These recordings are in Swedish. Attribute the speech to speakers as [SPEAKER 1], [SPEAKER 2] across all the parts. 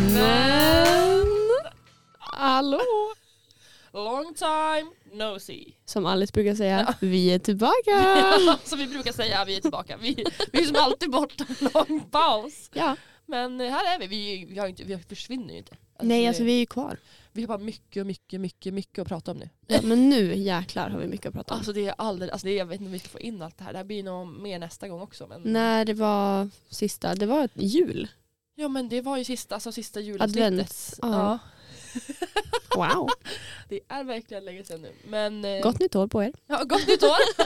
[SPEAKER 1] Men...
[SPEAKER 2] Hallå!
[SPEAKER 1] Long time no see.
[SPEAKER 2] Som Alice brukar säga, vi är tillbaka!
[SPEAKER 1] som vi brukar säga, vi är tillbaka. Vi, vi är som alltid borta en lång paus.
[SPEAKER 2] Ja.
[SPEAKER 1] Men eh, här är vi, vi, vi, har inte, vi försvinner ju inte. Alltså,
[SPEAKER 2] Nej, alltså vi är ju kvar.
[SPEAKER 1] vi har bara mycket, mycket, mycket, mycket att prata om nu.
[SPEAKER 2] Ja, men nu jäklar har vi mycket att prata om.
[SPEAKER 1] Alltså det är alldeles, alltså det är, jag vet inte om vi ska få in allt det här. Det här blir nog mer nästa gång också. Men,
[SPEAKER 2] När det var sista, det var ett jul.
[SPEAKER 1] Ja men det var ju sista, alltså sista julavsnittet.
[SPEAKER 2] Advents, ja.
[SPEAKER 1] Ja.
[SPEAKER 2] Wow,
[SPEAKER 1] Det är verkligen länge sedan nu. Men, eh,
[SPEAKER 2] gott nytt år på er.
[SPEAKER 1] Ja, gott nytt år!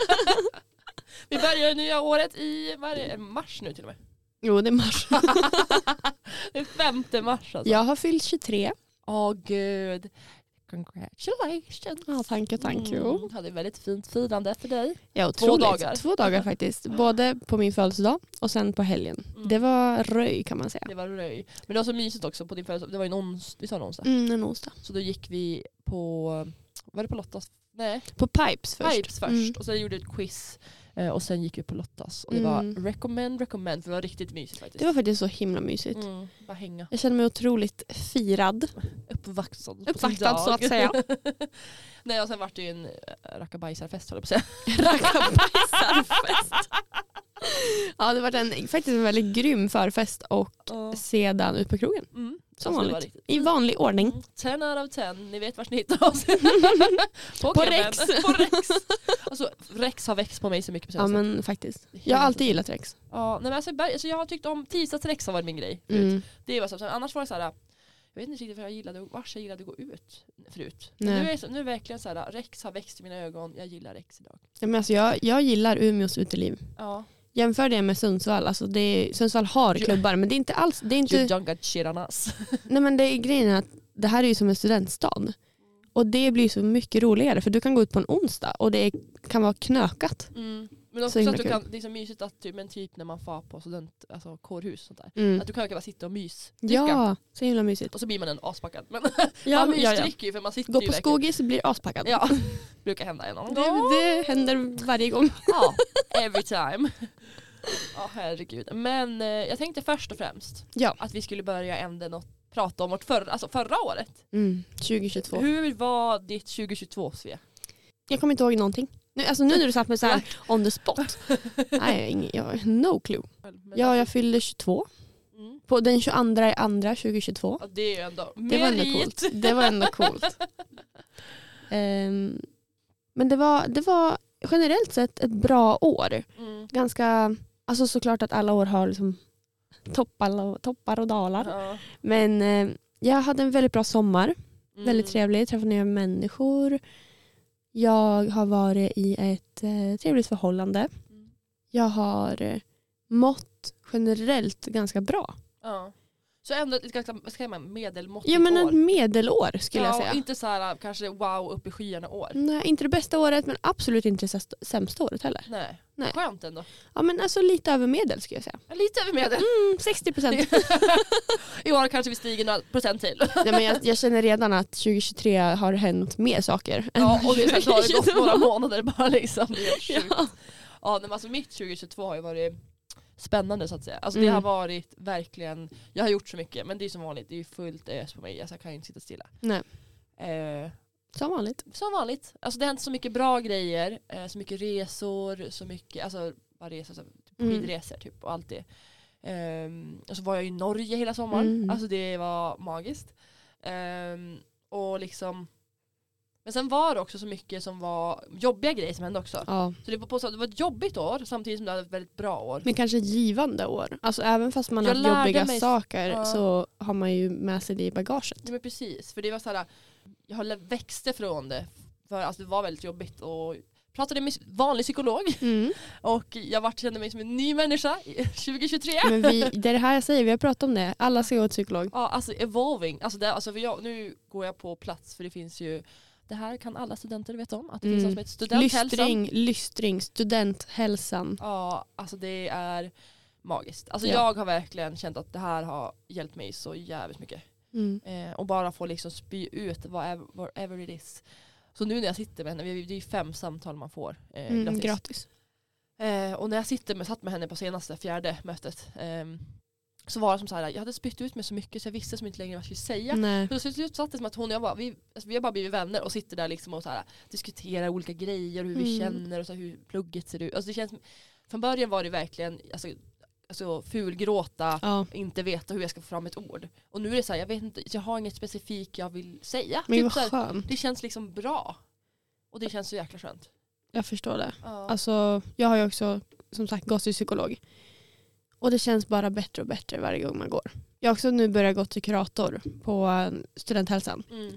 [SPEAKER 1] vi börjar det nya året i vad är det, mars nu till och med.
[SPEAKER 2] Jo, det är mars.
[SPEAKER 1] Det är femte mars alltså.
[SPEAKER 2] Jag har fyllt 23.
[SPEAKER 1] Åh gud. Congratulations.
[SPEAKER 2] Ja, thank you, thank you.
[SPEAKER 1] Mm, hade ett väldigt fint firande för dig.
[SPEAKER 2] Ja,
[SPEAKER 1] Två
[SPEAKER 2] otroligt.
[SPEAKER 1] dagar.
[SPEAKER 2] Två dagar faktiskt. Både på min födelsedag och sen på helgen.
[SPEAKER 1] Mm.
[SPEAKER 2] Det var röj kan man säga.
[SPEAKER 1] Det var röj. Men det var så mysigt också på din födelsedag. Det var ju en ons- vi sa en onsdag.
[SPEAKER 2] Mm, en onsdag.
[SPEAKER 1] Så då gick vi på, var det på Lottas? Nej,
[SPEAKER 2] På Pipes först.
[SPEAKER 1] Pipes först.
[SPEAKER 2] Mm.
[SPEAKER 1] Och sen gjorde vi ett quiz. Eh, Och sen gick vi på Lottas. Och det
[SPEAKER 2] Mm.
[SPEAKER 1] var recommend, recommend. För det var riktigt mysigt faktiskt.
[SPEAKER 2] Det var faktiskt så himla mysigt.
[SPEAKER 1] mm, bara hänga.
[SPEAKER 2] Jag känner mig otroligt firad.
[SPEAKER 1] Uppvaktad. på sin
[SPEAKER 2] Uppvaktad, så
[SPEAKER 1] dag.
[SPEAKER 2] att säga.
[SPEAKER 1] Nej och sen vart det ju en eh, rackabajsarfest höll jag på att säga.
[SPEAKER 2] Rackabajsarfest. ja, det var en, faktiskt en väldigt grym förfest och sedan ut på krogen.
[SPEAKER 1] Mm.
[SPEAKER 2] Som
[SPEAKER 1] Alltså, det var
[SPEAKER 2] vanligt. I vanlig ordning.
[SPEAKER 1] Mm, 10 out of 10, ni vet vart ni hittar oss. på
[SPEAKER 2] På
[SPEAKER 1] Kemen.
[SPEAKER 2] Rex.
[SPEAKER 1] på Rex. Alltså, Rex har växt på mig så mycket
[SPEAKER 2] Ja
[SPEAKER 1] på senaste.
[SPEAKER 2] men faktiskt. Jag har alltid gillat Rex.
[SPEAKER 1] Ja, nej, men alltså, Berg- alltså, jag har tyckt om tisdags Rex har varit min grej. förut.
[SPEAKER 2] Mm.
[SPEAKER 1] Det var så, så, annars var det så här. Jag vet inte riktigt vad jag gillade, vars jag gillade att gå ut förut.
[SPEAKER 2] Nej.
[SPEAKER 1] Men nu är så- nu är det verkligen så här, Rex har växt i mina ögon, jag gillar Rex idag.
[SPEAKER 2] Ja, men alltså, jag, jag gillar Umeås uteliv.
[SPEAKER 1] Ja.
[SPEAKER 2] Jämför det med Sundsvall. Alltså det är, Sundsvall har
[SPEAKER 1] Jo.
[SPEAKER 2] klubbar men det är inte alls... Det är
[SPEAKER 1] You
[SPEAKER 2] inte,
[SPEAKER 1] don't got shit on us.
[SPEAKER 2] nej, men det är grejen är att det här är ju som en studentstad. Och det blir så mycket roligare för du kan gå ut på en onsdag och det är, kan vara knökat.
[SPEAKER 1] Mm. Men också
[SPEAKER 2] Så
[SPEAKER 1] så
[SPEAKER 2] himla
[SPEAKER 1] att du
[SPEAKER 2] kul.
[SPEAKER 1] kan, det är så mysigt att typ, men typ när man far på student, alltså kårhus och sånt där. Att du kan verkligen bara sitta och mysdricka.
[SPEAKER 2] Mm. Ja, så himla mysigt.
[SPEAKER 1] Och så blir man en aspackad. Men
[SPEAKER 2] Ja,
[SPEAKER 1] man
[SPEAKER 2] men- ja, ja.
[SPEAKER 1] mysdricker ju för man sitter
[SPEAKER 2] Gå
[SPEAKER 1] ju
[SPEAKER 2] på
[SPEAKER 1] verkligen-
[SPEAKER 2] skogis blir aspackad.
[SPEAKER 1] Ja, brukar hända en annan gång.
[SPEAKER 2] Det, det händer varje gång.
[SPEAKER 1] Ja, every time. Ja, herregud. Men eh, jag tänkte först och främst
[SPEAKER 2] Ja.
[SPEAKER 1] att vi skulle börja änden och prata om vårt förra, alltså förra året.
[SPEAKER 2] Mm, 2022.
[SPEAKER 1] Hur var ditt 2022 Svea?
[SPEAKER 2] Jag kommer inte ihåg någonting. Nu, alltså nu när du satt mig så här on the spot. Nej, jag, har ingen- jag har no clue.
[SPEAKER 1] alltså-
[SPEAKER 2] Ja, jag fyllde 22.
[SPEAKER 1] Mm.
[SPEAKER 2] På den 22 i andra 2022.
[SPEAKER 1] Ja, det är ju ändå
[SPEAKER 2] Det var ändå
[SPEAKER 1] merit.
[SPEAKER 2] coolt. Det var ändå coolt. Ehm, men det var, det var generellt sett ett bra år.
[SPEAKER 1] Mm.
[SPEAKER 2] Ganska, alltså såklart att alla år har liksom toppar, och, toppar och dalar.
[SPEAKER 1] Ja.
[SPEAKER 2] Men eh, jag hade en väldigt bra sommar.
[SPEAKER 1] Mm.
[SPEAKER 2] Väldigt trevlig, träffat nya människor. Jag har varit i ett eh, trevligt förhållande.
[SPEAKER 1] Mm.
[SPEAKER 2] Jag har eh, mått generellt ganska bra.
[SPEAKER 1] Ja. Så ändå ett ganska vad ska jag säga, medelmåttigt
[SPEAKER 2] Ja men
[SPEAKER 1] år.
[SPEAKER 2] ett medelår skulle
[SPEAKER 1] ja,
[SPEAKER 2] jag
[SPEAKER 1] och
[SPEAKER 2] säga. Mm.
[SPEAKER 1] Inte så här kanske wow upp i skyarna år.
[SPEAKER 2] Nej, inte det bästa året men absolut inte det säst- sämsta året heller.
[SPEAKER 1] Nej.
[SPEAKER 2] Nej.
[SPEAKER 1] Skönt ändå.
[SPEAKER 2] Ja men alltså lite över medel skulle jag säga.
[SPEAKER 1] Ja, Lite över medel.
[SPEAKER 2] Mm, 60 procent.
[SPEAKER 1] I år kanske vi stiger några procent till.
[SPEAKER 2] Nej men jag, jag känner redan att 2023 har hänt mer saker. än
[SPEAKER 1] Ja, och det är så här, så har det gått
[SPEAKER 2] 2022.
[SPEAKER 1] några månader bara liksom. Det är helt sjukt.
[SPEAKER 2] Ja.
[SPEAKER 1] Ja, nej, men alltså mitt 2022 har ju varit spännande så att säga. Alltså det
[SPEAKER 2] Mm.
[SPEAKER 1] har varit verkligen, jag har gjort så mycket men det är som vanligt, det är ju fullt ös på mig. Alltså, jag kan ju inte sitta stilla.
[SPEAKER 2] Nej.
[SPEAKER 1] Eh,
[SPEAKER 2] Som vanligt.
[SPEAKER 1] som vanligt, alltså det har hänt så mycket bra grejer, eh, så mycket resor, så mycket, alltså bara resor, så här, typ
[SPEAKER 2] Mm.
[SPEAKER 1] skidresor typ och allt det. Ehm, och så var jag i Norge hela sommaren,
[SPEAKER 2] Mm.
[SPEAKER 1] alltså det var magiskt. Ehm, och liksom men sen var det också så mycket som var jobbiga grejer som hände också.
[SPEAKER 2] Ja.
[SPEAKER 1] Så det var, på, så- det var ett jobbigt år samtidigt som det var ett väldigt bra år.
[SPEAKER 2] Men kanske ett givande år. Alltså även fast man
[SPEAKER 1] Jag
[SPEAKER 2] har
[SPEAKER 1] lärde
[SPEAKER 2] haft jobbiga
[SPEAKER 1] mig-
[SPEAKER 2] saker
[SPEAKER 1] Ja.
[SPEAKER 2] så har man ju med sig det i bagaget.
[SPEAKER 1] Ja, men precis, för det var så här, jag har lä- växte från det. För alltså, det var väldigt jobbigt och pratade med vanlig psykolog och jag vart, kände mig som en ny människa i 2023.
[SPEAKER 2] Men vi, det är det här jag säger, vi har pratat om det. Alla ska gå till psykolog.
[SPEAKER 1] Ja, alltså evolving. Alltså, det, alltså, för jag, nu går jag på plats för det finns ju, det här kan alla studenter veta om, att det finns
[SPEAKER 2] Mm.
[SPEAKER 1] något som heter studenthälsan.
[SPEAKER 2] Lystring, lystring, studenthälsan.
[SPEAKER 1] Ja, alltså det är magiskt. Alltså
[SPEAKER 2] Ja.
[SPEAKER 1] jag har verkligen känt att det här har hjälpt mig så jävligt mycket. Eh, och bara få liksom spy ut whatever, whatever it is. Så nu när jag sitter med henne, vi- det är ju fem samtal man får eh,
[SPEAKER 2] Mm,
[SPEAKER 1] gratis.
[SPEAKER 2] gratis.
[SPEAKER 1] Eh, och när jag sitter med, satt med henne på senaste fjärde mötet ehm, så var det som så här, jag hade spytt ut mig så mycket så jag visste som inte längre vad jag skulle säga.
[SPEAKER 2] Nej.
[SPEAKER 1] Så till slut satt det som att hon och jag bara, vi, alltså, vi har bara blivit vänner och sitter där liksom och så här, diskuterar olika grejer och hur
[SPEAKER 2] Mm.
[SPEAKER 1] vi känner och så här, hur plugget ser ut. Alltså, det känns, från början var det verkligen alltså, alltså, fulgråta,
[SPEAKER 2] Ja.
[SPEAKER 1] inte veta hur jag ska få fram ett ord. Och nu är det så här, jag vet inte, jag har inget specifikt jag vill säga.
[SPEAKER 2] Men
[SPEAKER 1] Typ
[SPEAKER 2] vad
[SPEAKER 1] så här,
[SPEAKER 2] skönt.
[SPEAKER 1] det känns liksom bra. Och det känns så jäkla skönt.
[SPEAKER 2] Jag förstår det.
[SPEAKER 1] Ja.
[SPEAKER 2] Alltså, jag har ju också som sagt gått till psykolog. Och det känns bara bättre och bättre varje gång man går. Jag har också nu börjat gå till kurator på eh, studenthälsan.
[SPEAKER 1] Mm,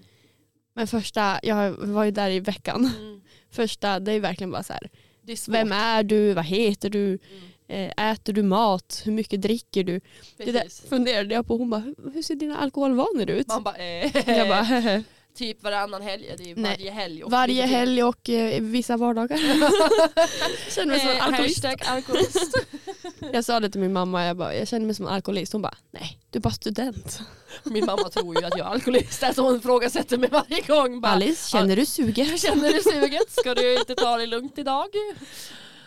[SPEAKER 2] Men första, jag var ju där i veckan.
[SPEAKER 1] mm.
[SPEAKER 2] Första, det är ju verkligen bara så här.
[SPEAKER 1] Det är svårt.
[SPEAKER 2] Vem är du? Vad heter du?
[SPEAKER 1] Mm,
[SPEAKER 2] Eh, Äter du mat? Hur mycket dricker du? Det där
[SPEAKER 1] precis.
[SPEAKER 2] funderade jag på. Hon bara, "Hur- hur ser dina alkoholvanor ut?
[SPEAKER 1] Man bara, eh,
[SPEAKER 2] Jag bara, "Hehe."
[SPEAKER 1] typ varannan helg, det är
[SPEAKER 2] Nej.
[SPEAKER 1] varje helg. och
[SPEAKER 2] varje
[SPEAKER 1] lite till.
[SPEAKER 2] helg och eh, vissa vardagar. känner mig som en Alltså,
[SPEAKER 1] Eh,
[SPEAKER 2] alkoholist.
[SPEAKER 1] hashtag alkoholist.
[SPEAKER 2] Jag sa det till min mamma, jag, bara, jag känner mig som en alkoholist. Hon bara, nej du är bara student.
[SPEAKER 1] Min mamma tror ju att jag är alkoholist, alltså hon frågasätter mig varje gång. Bara,
[SPEAKER 2] Alice, känner du suget?
[SPEAKER 1] Känner du suget? Ska du inte ta det lugnt idag?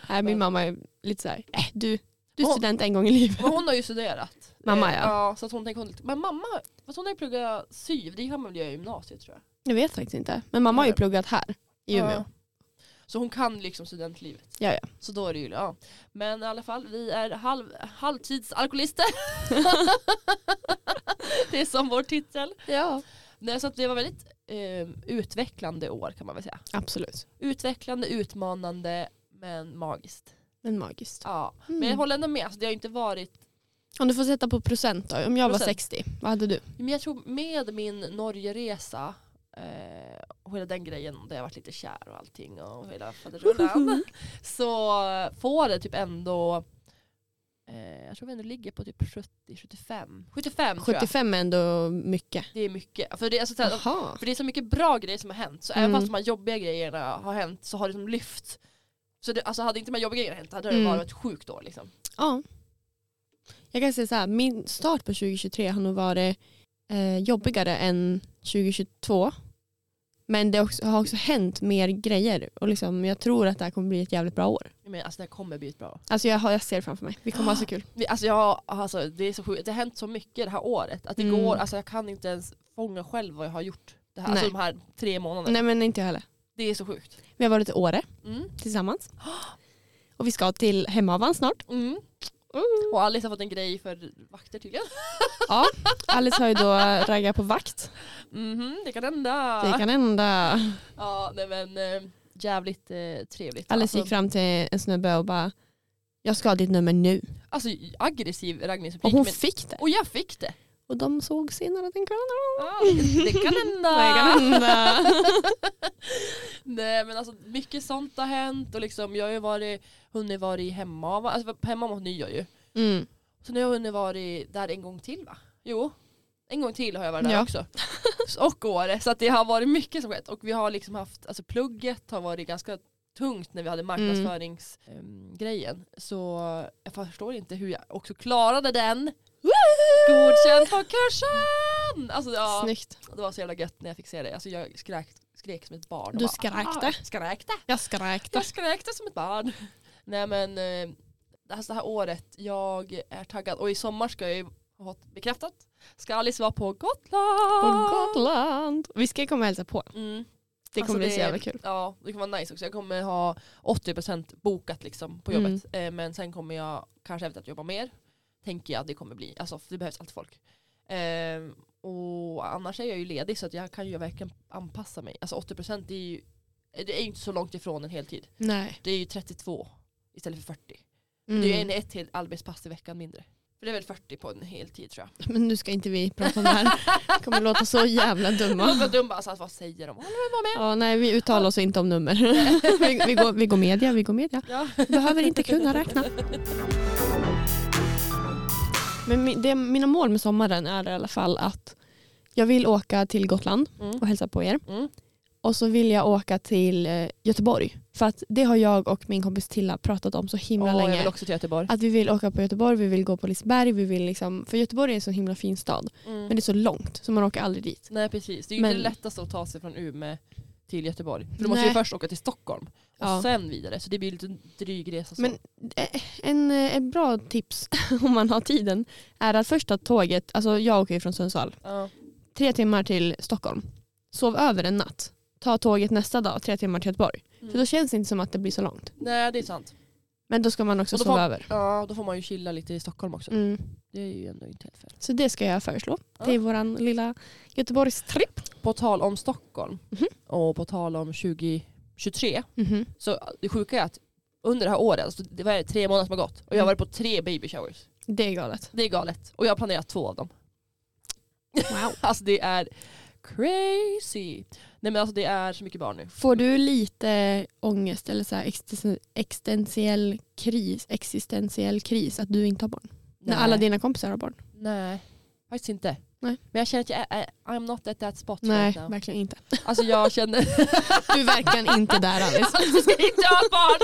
[SPEAKER 2] Nej, min mamma är lite såhär, äh, du, du är
[SPEAKER 1] Åh.
[SPEAKER 2] student en gång i livet.
[SPEAKER 1] Men hon har ju studerat.
[SPEAKER 2] Mamma,
[SPEAKER 1] Eh,
[SPEAKER 2] ja.
[SPEAKER 1] ja så att hon tänker hon Men mamma, fast hon har ju pluggat syv, det kan man väl göra i gymnasiet tror jag.
[SPEAKER 2] Jag vet faktiskt inte. Men mamma har ju pluggat här i Umeå.
[SPEAKER 1] Ja. Så hon kan liksom studentlivet.
[SPEAKER 2] Ja, ja.
[SPEAKER 1] Så då är det ju, ja. Men i alla fall, vi är halv, halvtidsalkoholister. det är som vår titel.
[SPEAKER 2] ja.
[SPEAKER 1] Nej, så att det var väldigt eh, utvecklande år kan man väl säga.
[SPEAKER 2] Absolut.
[SPEAKER 1] Utvecklande, utmanande men magiskt.
[SPEAKER 2] Men magiskt.
[SPEAKER 1] Ja. Men jag
[SPEAKER 2] Mm.
[SPEAKER 1] håller ändå med, alltså, det har inte varit
[SPEAKER 2] Om du får sätta på procent då. Om jag var
[SPEAKER 1] Procent.
[SPEAKER 2] 60, vad hade du?
[SPEAKER 1] Men jag tror med min Norgeresa eh, och hela den grejen där jag varit lite kär och allting och hela faderullan så får det typ ändå eh, jag tror vi ändå ligger på typ 70-75. 75 tror jag.
[SPEAKER 2] 75 är ändå mycket.
[SPEAKER 1] Det är mycket. För det, är alltså, så här,
[SPEAKER 2] Jaha.
[SPEAKER 1] för det är så mycket bra grejer som har hänt så även
[SPEAKER 2] Mm.
[SPEAKER 1] fast de här jobbiga grejerna har hänt så har det som lyft. Så det, alltså, hade inte de här jobbiga grejerna hänt hade det
[SPEAKER 2] Mm.
[SPEAKER 1] varit ett sjukt år liksom.
[SPEAKER 2] Ja. Jag kan säga så här, min start på 2023 har nog varit eh, jobbigare än 2022. Men det har också, har också hänt mer grejer och liksom, jag tror att det här kommer bli ett jävligt bra år.
[SPEAKER 1] Men, alltså det här kommer bli ett bra år.
[SPEAKER 2] Alltså jag, har- jag ser det framför mig, vi kommer ha så kul.
[SPEAKER 1] Vi- Alltså jag, alltså det, är så sjukt. det har hänt så mycket det här året. Att det
[SPEAKER 2] Mm.
[SPEAKER 1] går, alltså jag kan inte ens fånga själv vad jag har gjort det här, alltså
[SPEAKER 2] Nej.
[SPEAKER 1] de här tre månaderna.
[SPEAKER 2] Nej men inte jag heller.
[SPEAKER 1] Det är så sjukt.
[SPEAKER 2] Vi har varit i Åre
[SPEAKER 1] Mm.
[SPEAKER 2] tillsammans. Och vi ska till Hemavan snart.
[SPEAKER 1] Mm.
[SPEAKER 2] Uh.
[SPEAKER 1] Och Alice har fått en grej för vakter tydligen.
[SPEAKER 2] Ja, Alice har ju då raggat på vakt.
[SPEAKER 1] Mhm, det kan hända.
[SPEAKER 2] Det kan hända.
[SPEAKER 1] Ja, nej men eh, jävligt eh, trevligt.
[SPEAKER 2] Alice gick
[SPEAKER 1] alltså,
[SPEAKER 2] fram till en snubbe och bara, jag ska ha ditt nummer nu.
[SPEAKER 1] alltså aggressiv raggningsreplik.
[SPEAKER 2] Och hon
[SPEAKER 1] men-
[SPEAKER 2] fick det.
[SPEAKER 1] och jag fick det.
[SPEAKER 2] Och de såg senare den kvällen.
[SPEAKER 1] Ja, det, det kan hända.
[SPEAKER 2] hända.
[SPEAKER 1] Nej men alltså mycket sånt har hänt och liksom jag har ju varit, hunnit vara i hemma, alltså hemma mot nyår ju.
[SPEAKER 2] Mm.
[SPEAKER 1] Så nu har jag hunnit varit där en gång till va? Jo, en gång till har jag varit där
[SPEAKER 2] Ja.
[SPEAKER 1] också. S- Och Åre, så att det har varit mycket som skett. Och vi har liksom haft, alltså plugget har varit ganska tungt när vi
[SPEAKER 2] Mm.
[SPEAKER 1] hade marknadsföringsgrejen. Så jag förstår inte hur jag också klarade den. Godkänt på kursen! Alltså ja,
[SPEAKER 2] Snyggt.
[SPEAKER 1] det var så jävla gött när jag fick se det. Alltså jag skrek, skrek som ett barn.
[SPEAKER 2] Du
[SPEAKER 1] Och
[SPEAKER 2] skräkte.
[SPEAKER 1] "Ah, Skräkte?
[SPEAKER 2] Jag skräkte.
[SPEAKER 1] Jag skräkte som ett barn. Nej men eh, alltså det här året, jag är taggad och i sommar ska jag ju ha fått bekräftat. Ska Alice vara på Gotland?
[SPEAKER 2] På Gotland. Vi ska komma och hälsa på.
[SPEAKER 1] Mm.
[SPEAKER 2] Det kommer
[SPEAKER 1] Alltså,
[SPEAKER 2] bli så jävla kul.
[SPEAKER 1] Ja, det kommer vara nice också. Jag kommer ha 80% bokat liksom på jobbet.
[SPEAKER 2] Mm.
[SPEAKER 1] Eh, men sen kommer jag kanske efter att jobba mer. Tänker jag att det kommer bli. Alltså för det behövs alltid folk. Eh, och annars är jag ju ledig så att jag kan ju verkligen anpassa mig. Alltså 80% det är ju det är ju inte så långt ifrån en heltid.
[SPEAKER 2] Nej.
[SPEAKER 1] Det är ju 32 istället för 40.
[SPEAKER 2] Mm.
[SPEAKER 1] Det är en ett helt arbetspass i veckan mindre. För det är väl 40 på en heltid tror jag.
[SPEAKER 2] Men nu ska inte vi prata om det här. Det kommer låta så jävla
[SPEAKER 1] Man
[SPEAKER 2] dumma.
[SPEAKER 1] var dum bara, alltså, vad säger
[SPEAKER 2] Mm.
[SPEAKER 1] de?
[SPEAKER 2] Ja, nej, vi uttalar oss inte om nummer. Vi, vi, går, vi går media, vi går media.
[SPEAKER 1] Ja.
[SPEAKER 2] Behöver inte kunna räkna. Men mi- det, mina mål med sommaren är i alla fall att jag vill åka till Gotland
[SPEAKER 1] Mm.
[SPEAKER 2] och hälsa på er.
[SPEAKER 1] Mm.
[SPEAKER 2] Och så vill jag åka till eh, Göteborg. För att det har jag och min kompis Tilla pratat om så himla
[SPEAKER 1] Åh, jag
[SPEAKER 2] länge.
[SPEAKER 1] vill också till Göteborg.
[SPEAKER 2] Att vi vill åka på Göteborg, vi vill gå på Liseberg, vi vill liksom, för Göteborg är en så himla fin stad.
[SPEAKER 1] Mm.
[SPEAKER 2] Men det är så långt så man åker aldrig dit.
[SPEAKER 1] Nej precis, det är ju inte
[SPEAKER 2] Men-
[SPEAKER 1] det lättaste att ta sig från Umeå till Göteborg. För du måste ju
[SPEAKER 2] Nej.
[SPEAKER 1] först åka till Stockholm och
[SPEAKER 2] Ja.
[SPEAKER 1] sen vidare. Så det blir lite dryg resa. Så.
[SPEAKER 2] Men eh, en, eh, ett bra tips om man har tiden är att först ta tåget, alltså jag åker ju från Sundsvall,
[SPEAKER 1] ja.
[SPEAKER 2] tre timmar till Stockholm. Sov över en natt. Ta tåget nästa dag, tre timmar till Göteborg.
[SPEAKER 1] Mm.
[SPEAKER 2] För då känns det inte som att det blir så långt.
[SPEAKER 1] Nej det är sant.
[SPEAKER 2] Men då ska man också
[SPEAKER 1] Och då
[SPEAKER 2] sova
[SPEAKER 1] får-
[SPEAKER 2] över.
[SPEAKER 1] Ja då får man ju chilla lite i Stockholm också.
[SPEAKER 2] Mm.
[SPEAKER 1] Det är ju ändå inte helt fel.
[SPEAKER 2] Så det ska jag föreslå.
[SPEAKER 1] Ja.
[SPEAKER 2] Det är våran lilla Göteborgstripp.
[SPEAKER 1] På tal om Stockholm
[SPEAKER 2] Mhm.
[SPEAKER 1] och på tal om 2023. Så det sjuka är att under det här året, alltså det var tre månader som har gått
[SPEAKER 2] Mm.
[SPEAKER 1] och jag har varit på tre baby showers.
[SPEAKER 2] Det är galet.
[SPEAKER 1] Det är galet. Och jag har planerat två av dem.
[SPEAKER 2] Wow.
[SPEAKER 1] Alltså det är crazy. Nej men alltså det är så mycket barn nu.
[SPEAKER 2] Får du lite ångest eller så här existen- existentiell kris, existentiell kris att du inte har barn? När alla dina kompisar har barn?
[SPEAKER 1] Nej, faktiskt inte.
[SPEAKER 2] Nej.
[SPEAKER 1] Men jag känner att jag är, är- I'm not at that spot
[SPEAKER 2] Nej,
[SPEAKER 1] right now.
[SPEAKER 2] verkligen inte.
[SPEAKER 1] Alltså jag känner
[SPEAKER 2] Du är verkligen inte där Alice.
[SPEAKER 1] Alice ska inte ha barn!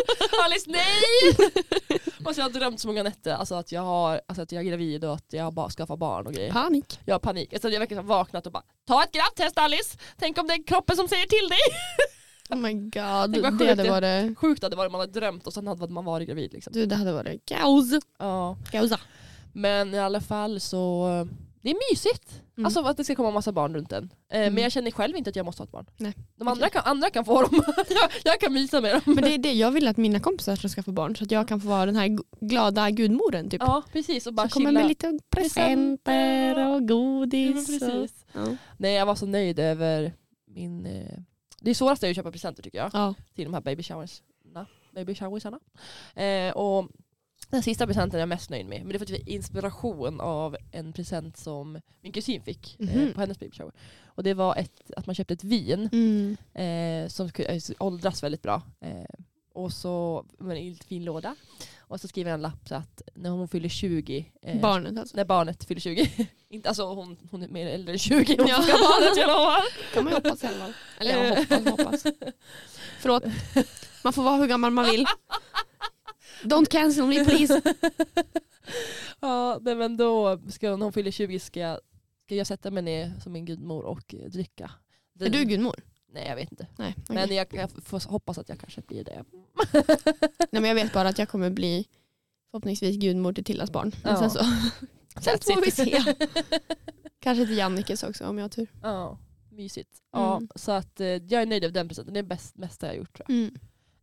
[SPEAKER 1] Alice nej! Alltså jag har drömt så många nätter, alltså att jag, har, alltså att jag är gravid och att jag bara skaffar barn och grejer.
[SPEAKER 2] Panik.
[SPEAKER 1] Jag har panik. Alltså jag verkligen har vaknat och bara ta ett grabbtest Alice! Tänk om det är kroppen som säger till dig!
[SPEAKER 2] Oh my
[SPEAKER 1] Tänk
[SPEAKER 2] god.
[SPEAKER 1] vad
[SPEAKER 2] Det
[SPEAKER 1] sjukt
[SPEAKER 2] hade
[SPEAKER 1] det-
[SPEAKER 2] varit,
[SPEAKER 1] Sjukt hade det varit om man hade drömt och sen hade man varit gravid liksom.
[SPEAKER 2] du, det hade varit kaos.
[SPEAKER 1] Ja.
[SPEAKER 2] Kaosa.
[SPEAKER 1] Men i alla fall så, eh, det är mysigt.
[SPEAKER 2] Mm.
[SPEAKER 1] Alltså att det ska komma massa barn runt en. Eh,
[SPEAKER 2] Mm.
[SPEAKER 1] Men jag känner själv inte att jag måste ha ett barn.
[SPEAKER 2] Nej.
[SPEAKER 1] De andra kan, andra kan få dem. jag, jag kan mysa med dem.
[SPEAKER 2] Men det är det jag vill att mina kompisar ska skaffa barn så att jag kan få vara den här g- glada gudmoren typ.
[SPEAKER 1] Ja precis och bara
[SPEAKER 2] Som kommer
[SPEAKER 1] chilla.
[SPEAKER 2] med lite presenter och
[SPEAKER 1] Ja, men
[SPEAKER 2] godis. och-
[SPEAKER 1] precis.
[SPEAKER 2] Ja.
[SPEAKER 1] Nej jag var så nöjd över min... eh, Det svåraste är ju att köpa presenter tycker jag.
[SPEAKER 2] Ja.
[SPEAKER 1] Till de här baby showersna. Baby showersarna. Eh, och den sista presenten är jag mest nöjd med. Men det är för att vi fick inspiration av en present som min kusin fick eh,
[SPEAKER 2] Mhm.
[SPEAKER 1] på hennes baby shower. Och det var ett, att man köpte ett vin
[SPEAKER 2] Mm.
[SPEAKER 1] eh, som sku- eh, åldras väldigt bra. Eh, och så med en liten fin låda. Och så skriver han en lapp så att när hon fyller 20 eh,
[SPEAKER 2] Barnet alltså.
[SPEAKER 1] när barnet fyller 20. Inte, alltså hon, hon är mer äldre än 20, hon
[SPEAKER 2] Ja.
[SPEAKER 1] ska ha barnet jag lovar.
[SPEAKER 2] kan man hoppas i alla fall. Eller jag hoppas, hoppas. Förlåt. Man får vara hur gammal man vill. Don't cancel me please.
[SPEAKER 1] Ja, nej, men då ska hon, när hon fyller 20 ska jag, ska jag sätta mig ner som en gudmor och eh, dricka.
[SPEAKER 2] Är
[SPEAKER 1] vin.
[SPEAKER 2] du gudmor?
[SPEAKER 1] Nej jag vet inte.
[SPEAKER 2] Nej, okej.
[SPEAKER 1] Men jag, jag får hoppas att jag kanske blir det.
[SPEAKER 2] Nej men jag vet bara att jag kommer bli förhoppningsvis gudmor till Tillas barn. Men
[SPEAKER 1] Ja.
[SPEAKER 2] sen så sen
[SPEAKER 1] That's
[SPEAKER 2] får vi
[SPEAKER 1] it.
[SPEAKER 2] se. Kanske till Jannikes också om jag har tur.
[SPEAKER 1] Ja, mysigt. Ja,
[SPEAKER 2] Mm.
[SPEAKER 1] Så att eh, jag är nöjd över den presenten, det är bäst, bästa jag har gjort tror jag.
[SPEAKER 2] Mm.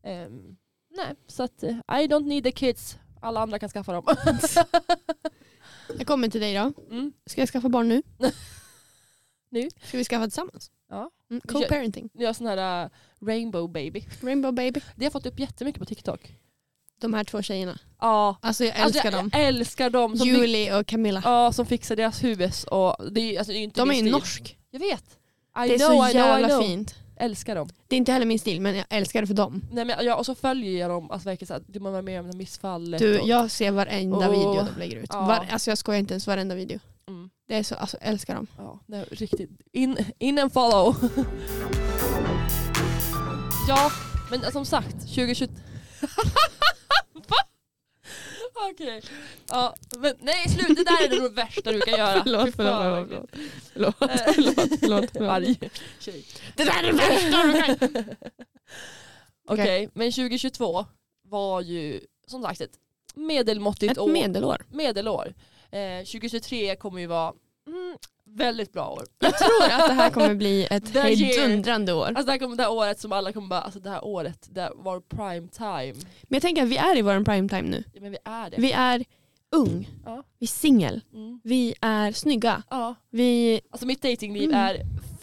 [SPEAKER 1] Ehm, nej, så att eh, I don't need the kids. Alla andra kan skaffa dem.
[SPEAKER 2] Jag kommer till dig då.
[SPEAKER 1] Mm.
[SPEAKER 2] Ska jag skaffa barn nu?
[SPEAKER 1] Nu?
[SPEAKER 2] Ska vi skaffa tillsammans?
[SPEAKER 1] Ja.
[SPEAKER 2] Mm, Co-parenting.
[SPEAKER 1] Jag är sån här eh, rainbow baby.
[SPEAKER 2] Rainbow baby.
[SPEAKER 1] Det har fått upp jättemycket på TikTok.
[SPEAKER 2] De här två tjejerna.
[SPEAKER 1] Ja,
[SPEAKER 2] Alltså jag älskar
[SPEAKER 1] alltså,
[SPEAKER 2] dem.
[SPEAKER 1] Jag älskar dem som, fi-
[SPEAKER 2] Julie och Camilla.
[SPEAKER 1] ja, som fixar deras huvus. Och det är, ju- alltså, det är ju inte
[SPEAKER 2] De är
[SPEAKER 1] min
[SPEAKER 2] ju
[SPEAKER 1] stil.
[SPEAKER 2] norsk.
[SPEAKER 1] Jag vet. I
[SPEAKER 2] Det är
[SPEAKER 1] know, I
[SPEAKER 2] så
[SPEAKER 1] know, I
[SPEAKER 2] jävla
[SPEAKER 1] know.
[SPEAKER 2] fint.
[SPEAKER 1] Älskar dem.
[SPEAKER 2] Det är inte heller min stil men jag älskar det för dem.
[SPEAKER 1] Nej, men, ja, och så följer jag dem. Alltså, verkligen, så här, man var med om det här missfallet.
[SPEAKER 2] Du,
[SPEAKER 1] och,
[SPEAKER 2] jag ser varenda
[SPEAKER 1] Åh.
[SPEAKER 2] video de lägger ut.
[SPEAKER 1] Ja.
[SPEAKER 2] Var, alltså jag skojar inte ens, varenda video.
[SPEAKER 1] mm,
[SPEAKER 2] Det är så, alltså jag älskar dem.
[SPEAKER 1] ja, det är riktigt. In, in and follow. ja, men eh, som sagt, 2020... Va? Okej. Ja, men nej slut, det där är det värsta du kan göra. Fy fan, verkligen.
[SPEAKER 2] förlåt,
[SPEAKER 1] förlåt,
[SPEAKER 2] förlåt,
[SPEAKER 1] Arg tjej.
[SPEAKER 2] Det där är det värsta du kan
[SPEAKER 1] Okej, men 2022 var ju som sagt ett medelmåttigt
[SPEAKER 2] Ett
[SPEAKER 1] år.
[SPEAKER 2] medelår.
[SPEAKER 1] medelår. Eh, 2023 kommer ju vara mm, väldigt bra år.
[SPEAKER 2] Jag tror att det här kommer bli ett
[SPEAKER 1] The year.
[SPEAKER 2] hejdundrande år.
[SPEAKER 1] Alltså det här kommer det här året som alla kommer bara, alltså det här året, det här var prime time.
[SPEAKER 2] Men jag tänker att vi är i vår prime time nu.
[SPEAKER 1] Ja, men vi är det.
[SPEAKER 2] Vi är ung,
[SPEAKER 1] Ja.
[SPEAKER 2] vi är singel,
[SPEAKER 1] Mm.
[SPEAKER 2] vi är snygga.
[SPEAKER 1] Ja.
[SPEAKER 2] Vi,
[SPEAKER 1] Alltså mitt datingliv
[SPEAKER 2] Mm.
[SPEAKER 1] är,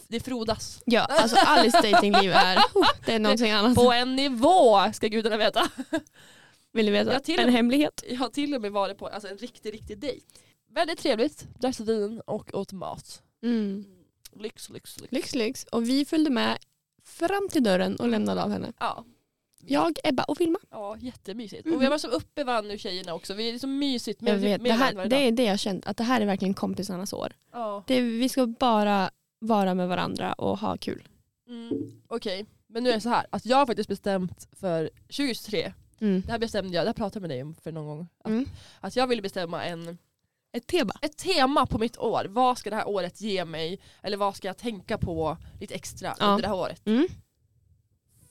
[SPEAKER 1] det frodas.
[SPEAKER 2] ja, alltså Alice datingliv är, oh, det är någonting annat.
[SPEAKER 1] På en nivå ska gudarna veta.
[SPEAKER 2] Vill du veta?
[SPEAKER 1] Jag till-
[SPEAKER 2] en hemlighet.
[SPEAKER 1] Jag har till och med varit på alltså, en riktig, riktig dejt. Väldigt trevligt, drack vin och åt mat.
[SPEAKER 2] Mm.
[SPEAKER 1] Lyx, lyx, lyx.
[SPEAKER 2] Lyx, lyx. Och vi följde med fram till dörren och lämnade av henne.
[SPEAKER 1] Ja.
[SPEAKER 2] Jag, Ebba och Vilma.
[SPEAKER 1] Ja, jättemysigt.
[SPEAKER 2] Mhm.
[SPEAKER 1] Och vi var så uppe vann nu tjejerna också. Vi är så mysigt med,
[SPEAKER 2] Jag vet,
[SPEAKER 1] med
[SPEAKER 2] det, här,
[SPEAKER 1] varandra
[SPEAKER 2] det
[SPEAKER 1] idag.
[SPEAKER 2] är det jag känt, att det här är verkligen kompisarnas år.
[SPEAKER 1] Ja.
[SPEAKER 2] Det, vi ska bara vara med varandra och ha kul.
[SPEAKER 1] Mm. Okej, men nu är det så här. Att jag har faktiskt bestämt för 2023.
[SPEAKER 2] Mm.
[SPEAKER 1] Det här bestämde jag, det här pratade jag med dig om för någon gång. Att,
[SPEAKER 2] Mm.
[SPEAKER 1] att jag ville bestämma en,
[SPEAKER 2] Ett teba.
[SPEAKER 1] ett tema på mitt år. Vad ska det här året ge mig? Eller vad ska jag tänka på lite extra
[SPEAKER 2] Ja.
[SPEAKER 1] under det här året?
[SPEAKER 2] Mm.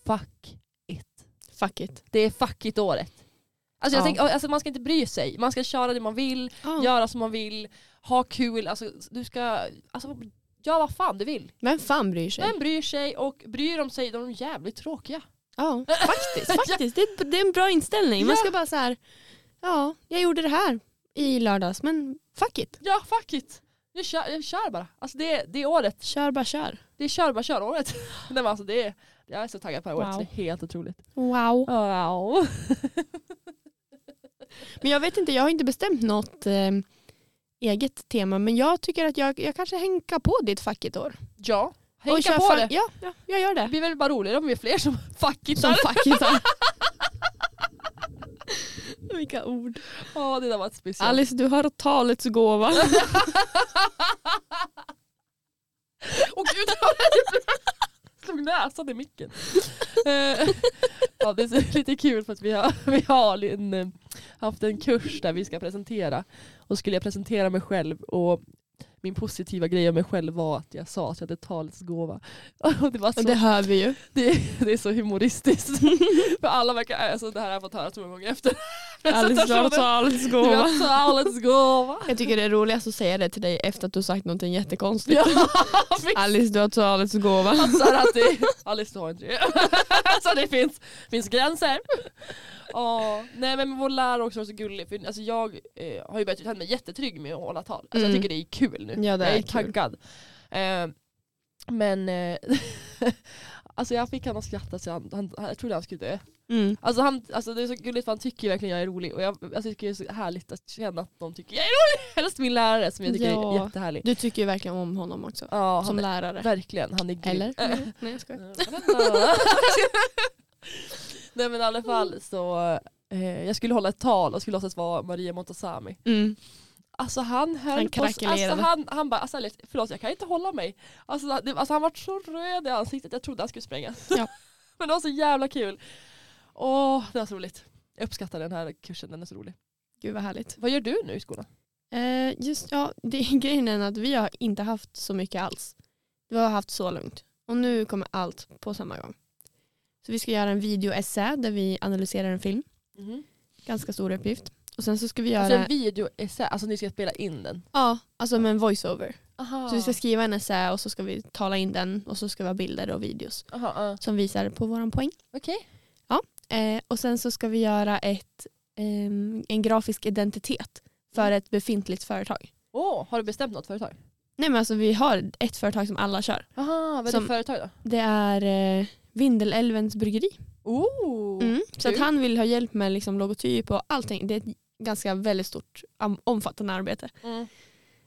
[SPEAKER 1] fuck it.
[SPEAKER 2] Fuck it.
[SPEAKER 1] Det är fuck it-året. Alltså jag
[SPEAKER 2] Ja.
[SPEAKER 1] tänker, alltså man ska inte bry sig. Man ska köra det man vill, göra som man vill, ha kul. Alltså, du ska, alltså, gör vad fan du vill.
[SPEAKER 2] Vem fan bryr sig?
[SPEAKER 1] Vem bryr sig och bryr de sig, de är jävligt tråkiga.
[SPEAKER 2] Ja, faktiskt. faktiskt. Det, är, det är en bra inställning. Man
[SPEAKER 1] Ja.
[SPEAKER 2] ska bara så här, ja, jag gjorde det här i lördags, men fuck it.
[SPEAKER 1] Ja, fuck it. Nu kör, jag kör bara. Alltså det, är- det är året.
[SPEAKER 2] Kör bara kör.
[SPEAKER 1] Det är kör bara kör-året. Nej, men alltså det är, jag är så taggad på det här året,
[SPEAKER 2] Wow.
[SPEAKER 1] så det är helt otroligt.
[SPEAKER 2] Wow.
[SPEAKER 1] Wow.
[SPEAKER 2] Men jag vet inte, jag har inte bestämt något eh, eget tema, men jag tycker att jag, jag kanske hänkar på ditt fuck it-år.
[SPEAKER 1] Ja,
[SPEAKER 2] Och
[SPEAKER 1] hänga
[SPEAKER 2] kör
[SPEAKER 1] på
[SPEAKER 2] fuck-
[SPEAKER 1] det.
[SPEAKER 2] Ja, ja, jag gör
[SPEAKER 1] Det
[SPEAKER 2] det.
[SPEAKER 1] blir väl bara roligare om vi är fler som fuck it.
[SPEAKER 2] Som fuck it Vilka ord.
[SPEAKER 1] Ja, det där var ett speciellt.
[SPEAKER 2] Alice, du har talets gåva.
[SPEAKER 1] Åh gud, vad är det? Jag slog näsan i micken. Eh, ja, det är lite kul för att vi har, vi har en, eh, haft en kurs där vi ska presentera. Och skulle jag presentera mig själv och min positiva grej om mig själv var att jag sa att jag hade talets gåva. Och det, var så,
[SPEAKER 2] Och det
[SPEAKER 1] det...
[SPEAKER 2] hör vi ju.
[SPEAKER 1] Det, är så humoristiskt. för alla verkar, alltså det här har jag fått höra så många gånger efter
[SPEAKER 2] Alice, du har
[SPEAKER 1] presentationen.
[SPEAKER 2] talets
[SPEAKER 1] Du
[SPEAKER 2] gåva.
[SPEAKER 1] har talets gåva.
[SPEAKER 2] Jag tycker det är roligast att säga det till dig efter att du sagt något jättekonstigt.
[SPEAKER 1] Ja,
[SPEAKER 2] Alice, du har talets gåva.
[SPEAKER 1] Så här att det, Alice du har inte det. Så det finns, finns gränser. Ja, nej men vår lärare också var så gullig. För, alltså, jag eh, har ju börjat känna mig jättetrygg med att hålla tal. Alltså,
[SPEAKER 2] Mm.
[SPEAKER 1] Jag tycker det är kul nu.
[SPEAKER 2] Ja, det
[SPEAKER 1] jag
[SPEAKER 2] är
[SPEAKER 1] är
[SPEAKER 2] kul.
[SPEAKER 1] taggad. Eh, men eh, alltså, jag fick honom att skratta så han, han, han, jag trodde han skulle dö.
[SPEAKER 2] Mm.
[SPEAKER 1] Alltså, han, alltså, det är så gulligt för han tycker verkligen jag är rolig. Och jag, alltså, jag tycker det är så härligt att känna att de tycker jag är rolig. Helst min lärare som jag tycker är
[SPEAKER 2] Ja.
[SPEAKER 1] jättehärlig.
[SPEAKER 2] Du tycker ju verkligen om honom också.
[SPEAKER 1] Ja,
[SPEAKER 2] Som
[SPEAKER 1] han,
[SPEAKER 2] lärare.
[SPEAKER 1] verkligen, han är grym.
[SPEAKER 2] Eller? Mm. Nej, jag skojar.
[SPEAKER 1] Nej men i alla fall så, eh, jag skulle hålla ett tal och skulle låtsas vara Maria Montazami.
[SPEAKER 2] Mm.
[SPEAKER 1] Alltså han höll
[SPEAKER 2] Han
[SPEAKER 1] på, alltså
[SPEAKER 2] krackelerade.
[SPEAKER 1] han, han bara, alltså, Alice, förlåt jag kan inte hålla mig. Alltså, det, alltså han var så röd i ansiktet, jag trodde han skulle sprängas.
[SPEAKER 2] Ja.
[SPEAKER 1] men det var så jävla kul. Åh, det var så roligt. Jag uppskattar den här kursen, den är så rolig.
[SPEAKER 2] Gud vad härligt.
[SPEAKER 1] Vad gör du nu i skolan?
[SPEAKER 2] Eh, just, ja, det, grejen är att vi har inte haft så mycket alls. Vi har haft så lugnt. Och nu kommer allt på samma gång. Så vi ska göra en videoessä där vi analyserar en film.
[SPEAKER 1] Mm-hmm.
[SPEAKER 2] Ganska stor uppgift. Och sen så ska vi göra,
[SPEAKER 1] Alltså en videoessä, alltså ni ska spela in den.
[SPEAKER 2] ja, alltså med en voiceover.
[SPEAKER 1] Aha.
[SPEAKER 2] Så vi ska skriva en essä och så ska vi tala in den och så ska vi ha bilder och videos
[SPEAKER 1] Aha, ja.
[SPEAKER 2] som visar på våran poäng.
[SPEAKER 1] Okej.
[SPEAKER 2] Eh, och sen så ska vi göra ett, ehm, en grafisk identitet för ett befintligt företag.
[SPEAKER 1] Åh, har du bestämt något företag?
[SPEAKER 2] Nej men alltså vi har ett företag som alla kör.
[SPEAKER 1] Aha, vad är
[SPEAKER 2] Som-
[SPEAKER 1] det för företag då?
[SPEAKER 2] Det är eh, Vindelälvens bryggeri.
[SPEAKER 1] Oh.
[SPEAKER 2] Mm. Så att
[SPEAKER 1] kul.
[SPEAKER 2] han vill ha hjälp med liksom, logotyp och allting. Det är ett ganska väldigt stort om- omfattande arbete.
[SPEAKER 1] Mm.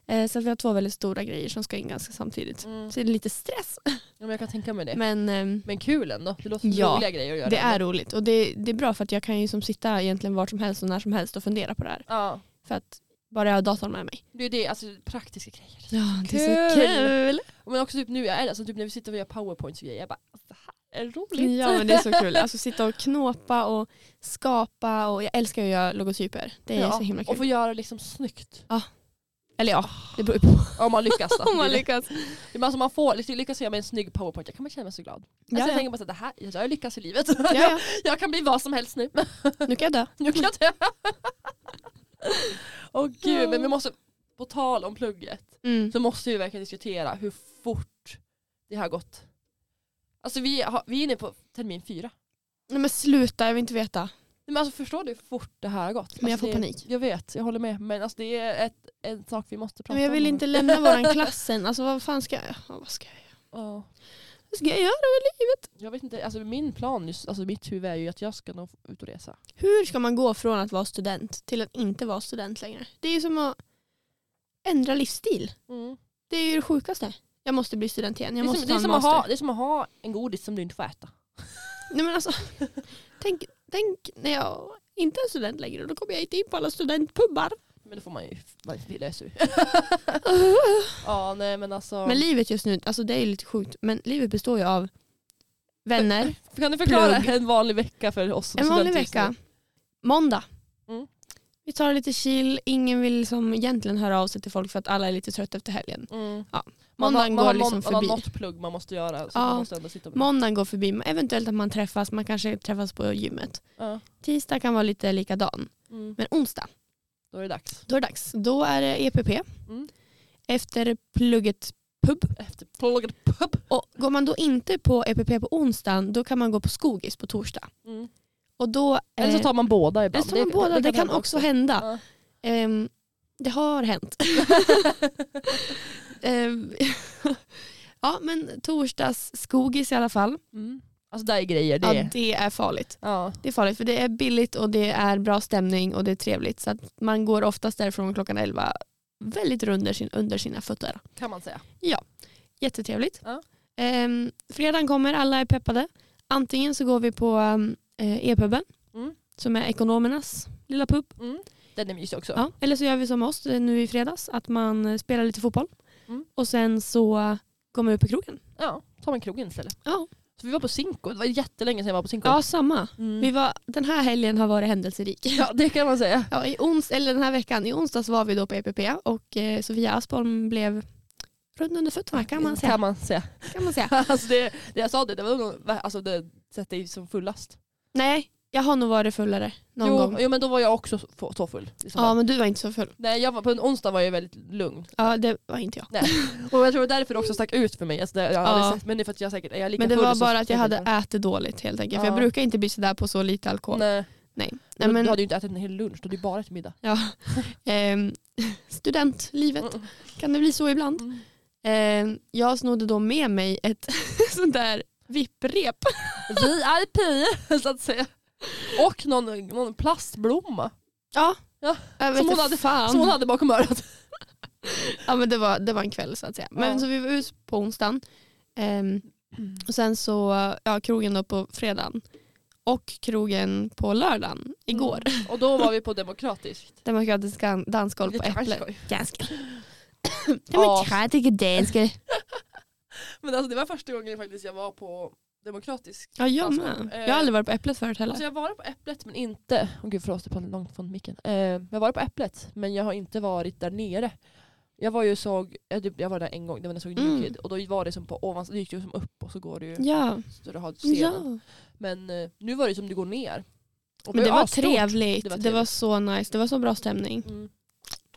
[SPEAKER 2] Eh, så att vi har två väldigt stora grejer som ska in ganska samtidigt.
[SPEAKER 1] Mm.
[SPEAKER 2] Så det är lite stress.
[SPEAKER 1] Ja, men jag kan tänka mig det. Men,
[SPEAKER 2] Men ehm,
[SPEAKER 1] kul ändå. Det låter som
[SPEAKER 2] Ja,
[SPEAKER 1] roliga grejer att göra.
[SPEAKER 2] det är roligt och det, det är bra för att jag kan ju som sitta egentligen vart som helst och när som helst och fundera på det här.
[SPEAKER 1] Ja.
[SPEAKER 2] För att bara jag har datorn med mig.
[SPEAKER 1] Det är det, alltså praktiska grejer.
[SPEAKER 2] Ja,
[SPEAKER 1] det är så
[SPEAKER 2] kul!
[SPEAKER 1] Men också typ nu, jag är, alltså, typ när vi sitter och gör powerpoints och grejer, jag bara alltså, det här är roligt.
[SPEAKER 2] Ja men det är så kul. Alltså sitta och knåpa och skapa och jag älskar ju att göra logotyper. Det är
[SPEAKER 1] Ja,
[SPEAKER 2] så himla kul.
[SPEAKER 1] Och få göra det liksom snyggt.
[SPEAKER 2] Eller ja, det beror ju på
[SPEAKER 1] Om man lyckas då.
[SPEAKER 2] om man
[SPEAKER 1] lyckas.
[SPEAKER 2] lyckas.
[SPEAKER 1] Men alltså, man får, liksom, lyckas jag med en snygg powerpoint, jag kan man känna mig så glad.
[SPEAKER 2] Ja,
[SPEAKER 1] alltså,
[SPEAKER 2] ja.
[SPEAKER 1] jag tänker bara så här, det här, jag har lyckats i livet.
[SPEAKER 2] Ja,
[SPEAKER 1] jag kan bli vad som helst nu.
[SPEAKER 2] ja. Nu kan jag dö.
[SPEAKER 1] nu kan jag dö. Åh gud,
[SPEAKER 2] Ja.
[SPEAKER 1] men vi måste, på tal om plugget.
[SPEAKER 2] Mm.
[SPEAKER 1] så måste vi verkligen diskutera hur fort det har gått. Alltså vi, har, vi är inne på termin fyra.
[SPEAKER 2] Nej men sluta, jag vill inte veta.
[SPEAKER 1] Nej, Men alltså förstår du hur fort det här har gått?
[SPEAKER 2] Men jag
[SPEAKER 1] alltså,
[SPEAKER 2] får
[SPEAKER 1] det,
[SPEAKER 2] panik.
[SPEAKER 1] Jag vet, jag håller med. Men alltså det är ett, en sak vi måste prata
[SPEAKER 2] Men jag vill
[SPEAKER 1] om.
[SPEAKER 2] inte lämna våran klass än. Alltså vad fan ska jag, ja, vad ska jag,
[SPEAKER 1] Ja.
[SPEAKER 2] vad ska jag göra?
[SPEAKER 1] Jag vet inte, alltså min plan, just, alltså mitt huvud är ju att jag ska nog ut och resa.
[SPEAKER 2] Hur ska man gå från att vara student till att inte vara student längre? Det är ju som att ändra livsstil. Det är ju det sjukaste. Jag måste bli student igen.
[SPEAKER 1] Det,
[SPEAKER 2] Jag
[SPEAKER 1] är
[SPEAKER 2] måste
[SPEAKER 1] som, det,
[SPEAKER 2] ta
[SPEAKER 1] är
[SPEAKER 2] en
[SPEAKER 1] som att
[SPEAKER 2] master.
[SPEAKER 1] ha, det är som att ha en godis som du inte får äta.
[SPEAKER 2] Nej men alltså, tänk, tänk när jag inte är student längre. Då kommer jag inte in på alla studentpubbar.
[SPEAKER 1] Men då får man ju, man löser ju. ja nej men alltså.
[SPEAKER 2] Men livet just nu, alltså det är ju lite sjukt. Men livet består ju av vänner.
[SPEAKER 1] kan du förklara
[SPEAKER 2] plugg.
[SPEAKER 1] en vanlig vecka för oss som
[SPEAKER 2] En vanlig
[SPEAKER 1] studenter just nu?
[SPEAKER 2] vecka. Måndag.
[SPEAKER 1] Mm.
[SPEAKER 2] Vi tar det lite chill. Ingen vill liksom egentligen höra av sig till folk för att alla är lite trötta efter helgen.
[SPEAKER 1] Mm.
[SPEAKER 2] Ja.
[SPEAKER 1] Man, har-
[SPEAKER 2] Måndagen
[SPEAKER 1] man,
[SPEAKER 2] går
[SPEAKER 1] har
[SPEAKER 2] liksom
[SPEAKER 1] någon- man
[SPEAKER 2] förbi.
[SPEAKER 1] har något plugg man måste göra. Så
[SPEAKER 2] Ja.
[SPEAKER 1] man måste ändå sitta med.
[SPEAKER 2] Måndagen går förbi, men eventuellt att man träffas, man kanske träffas på gymmet.
[SPEAKER 1] Ja.
[SPEAKER 2] Tisdag kan vara lite likadan,
[SPEAKER 1] Mm.
[SPEAKER 2] men onsdag,
[SPEAKER 1] Då är det dags.
[SPEAKER 2] då är det dags. Då är det EPP.
[SPEAKER 1] Mm.
[SPEAKER 2] Efter plugget pub.
[SPEAKER 1] Efter plugget. Pup.
[SPEAKER 2] Och går man då inte på EPP på onsdagen, då kan man gå på skogis på torsdag.
[SPEAKER 1] Mm.
[SPEAKER 2] Och då, eh,
[SPEAKER 1] Eller så tar man båda
[SPEAKER 2] eller
[SPEAKER 1] ibland.
[SPEAKER 2] så tar man båda, det, kan också hända.
[SPEAKER 1] Ja.
[SPEAKER 2] Ehm, det har hänt. Ehm, ja, men torsdags skogis i alla fall.
[SPEAKER 1] Mm. Alltså där är grejer. Det.
[SPEAKER 2] Ja,
[SPEAKER 1] är-
[SPEAKER 2] det är farligt.
[SPEAKER 1] Ja.
[SPEAKER 2] Det är farligt för det är billigt och det är bra stämning och det är trevligt. Så att man går oftast därifrån klockan 11 väldigt rund under, sin, under sina fötter.
[SPEAKER 1] Kan man säga.
[SPEAKER 2] Jättetrevligt.
[SPEAKER 1] Ja.
[SPEAKER 2] Ehm, fredagen kommer, alla är peppade. Antingen så går vi på um, eh, E-puben
[SPEAKER 1] Mm.
[SPEAKER 2] som är ekonomernas lilla pub.
[SPEAKER 1] Mm. Den är mysig också.
[SPEAKER 2] Ja, eller så gör vi som oss eh, nu i fredags, att man eh, spelar lite fotboll
[SPEAKER 1] Mm.
[SPEAKER 2] och sen så eh, går man ut på krogen.
[SPEAKER 1] Ja, tar man krogen istället.
[SPEAKER 2] Ja.
[SPEAKER 1] Så vi var på Cinco, det var jättelänge sedan jag var på Cinco.
[SPEAKER 2] Ja, samma.
[SPEAKER 1] Mm.
[SPEAKER 2] Vi var, den här helgen har varit händelserik.
[SPEAKER 1] ja det kan man säga.
[SPEAKER 2] Ja, i ons, eller den här veckan, i onsdags var vi då på EPP och eh, Sofia Aspholm blev rund under fötterna kan man säga.
[SPEAKER 1] Kan man säga.
[SPEAKER 2] Kan man säga.
[SPEAKER 1] alltså det, det jag sa det, det var nog alltså det sättet som fullast.
[SPEAKER 2] Nej, jag har nog varit fullare någon
[SPEAKER 1] jo,
[SPEAKER 2] gång.
[SPEAKER 1] jo men då var jag också så- så full. i så
[SPEAKER 2] Ja,
[SPEAKER 1] fall.
[SPEAKER 2] men du var inte så full.
[SPEAKER 1] Nej, jag var, på en onsdag var jag väldigt lugn.
[SPEAKER 2] Ja, det var inte jag.
[SPEAKER 1] Och jag tror det var därför det också stack ut för mig. Alltså det, jag har aldrig
[SPEAKER 2] Ja.
[SPEAKER 1] sett, men det är för att jag säkert är jag lika
[SPEAKER 2] Men det
[SPEAKER 1] full
[SPEAKER 2] var
[SPEAKER 1] som-
[SPEAKER 2] bara att jag
[SPEAKER 1] som-
[SPEAKER 2] hade ätit dåligt helt enkelt. För
[SPEAKER 1] typ Ja.
[SPEAKER 2] jag brukar inte bli sådär på så lite alkohol. Nej.
[SPEAKER 1] Nej,
[SPEAKER 2] Nej,
[SPEAKER 1] men...
[SPEAKER 2] men,
[SPEAKER 1] Du hade ju inte ätit en hel lunch, du hade ju bara ätit middag.
[SPEAKER 2] ja. Ehm, studentlivet,
[SPEAKER 1] Mm.
[SPEAKER 2] kan det bli så ibland? Ehm, jag snodde då med mig ett sånt där vipprep.
[SPEAKER 1] VIP så att säga. Och någon, någon plastblomma
[SPEAKER 2] Ja.
[SPEAKER 1] Ja,
[SPEAKER 2] Jag vet
[SPEAKER 1] som hon
[SPEAKER 2] inte
[SPEAKER 1] hade-
[SPEAKER 2] fan.
[SPEAKER 1] som hon hade bakom örat.
[SPEAKER 2] Ja men det var, det var en kväll så att säga. Men
[SPEAKER 1] Ja. Mm.
[SPEAKER 2] så vi var ute på onsdagen. Ehm, och sen så, ja krogen då på fredagen. Och krogen på lördagen igår.
[SPEAKER 1] Mm. Och då var vi på demokratiskt.
[SPEAKER 2] Demokratiska dansgolv på
[SPEAKER 1] Lite
[SPEAKER 2] Äpplet.
[SPEAKER 1] kanske.
[SPEAKER 2] Ganska.
[SPEAKER 1] Ja.
[SPEAKER 2] Demokratiska danska.
[SPEAKER 1] Men alltså det var första gången faktiskt jag var på demokratisk.
[SPEAKER 2] Ja jag
[SPEAKER 1] Dansgolv.
[SPEAKER 2] med. Jag har aldrig varit på Äpplet förut heller.
[SPEAKER 1] Alltså jag har varit på Äpplet men inte, åh gud förlåt det var långt från micken. Eh, jag har varit på Äpplet men jag har inte varit där nere. Jag var ju såg, jag typ- jag var där en gång, det var när jag såg New
[SPEAKER 2] Mm.
[SPEAKER 1] Kid och då var det som på ovan, det gick ju som upp och så går det ju
[SPEAKER 2] Ja.
[SPEAKER 1] så du har scenen.
[SPEAKER 2] ja.
[SPEAKER 1] Men eh, nu var det som du går ner. Och
[SPEAKER 2] Men det var
[SPEAKER 1] asstort.
[SPEAKER 2] trevligt.
[SPEAKER 1] Det var
[SPEAKER 2] Det var så nice. Det var så bra stämning.
[SPEAKER 1] Mm.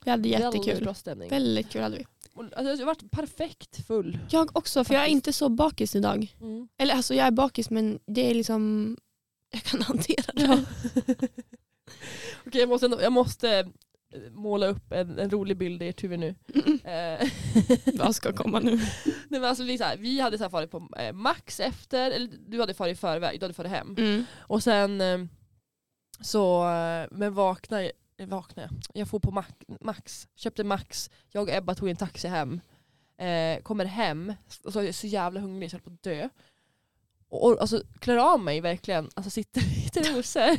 [SPEAKER 2] Vi hade
[SPEAKER 1] Väldigt
[SPEAKER 2] jättekul.
[SPEAKER 1] bra stämning.
[SPEAKER 2] Väldigt kul hade vi.
[SPEAKER 1] Och, Alltså, jag har varit perfekt full.
[SPEAKER 2] Jag också för jag är
[SPEAKER 1] Faktiskt.
[SPEAKER 2] inte så bakis idag.
[SPEAKER 1] Mm.
[SPEAKER 2] Eller alltså jag är bakis men det är liksom, jag kan hantera det.
[SPEAKER 1] Okej, jag måste, ändå- jag måste eh, måla upp en, en rolig bild i ert huvud nu.
[SPEAKER 2] Mm.
[SPEAKER 1] Eh,
[SPEAKER 2] Vad ska komma nu?
[SPEAKER 1] Nej, men alltså, det är så här, vi hade så här farit på eh, Max efter, eller du hade farit i förväg, du hade farit hem.
[SPEAKER 2] Mm.
[SPEAKER 1] Och sen eh, så, eh, men vaknade jag, vaknade jag. jag får på Mac, Max, köpte Max, jag och Ebba tog en taxi hem. Eh, kommer hem, och så är jag så jävla hungrig så jag höll på att dö. Och, och alltså, klär av mig verkligen, alltså sitter i trosor.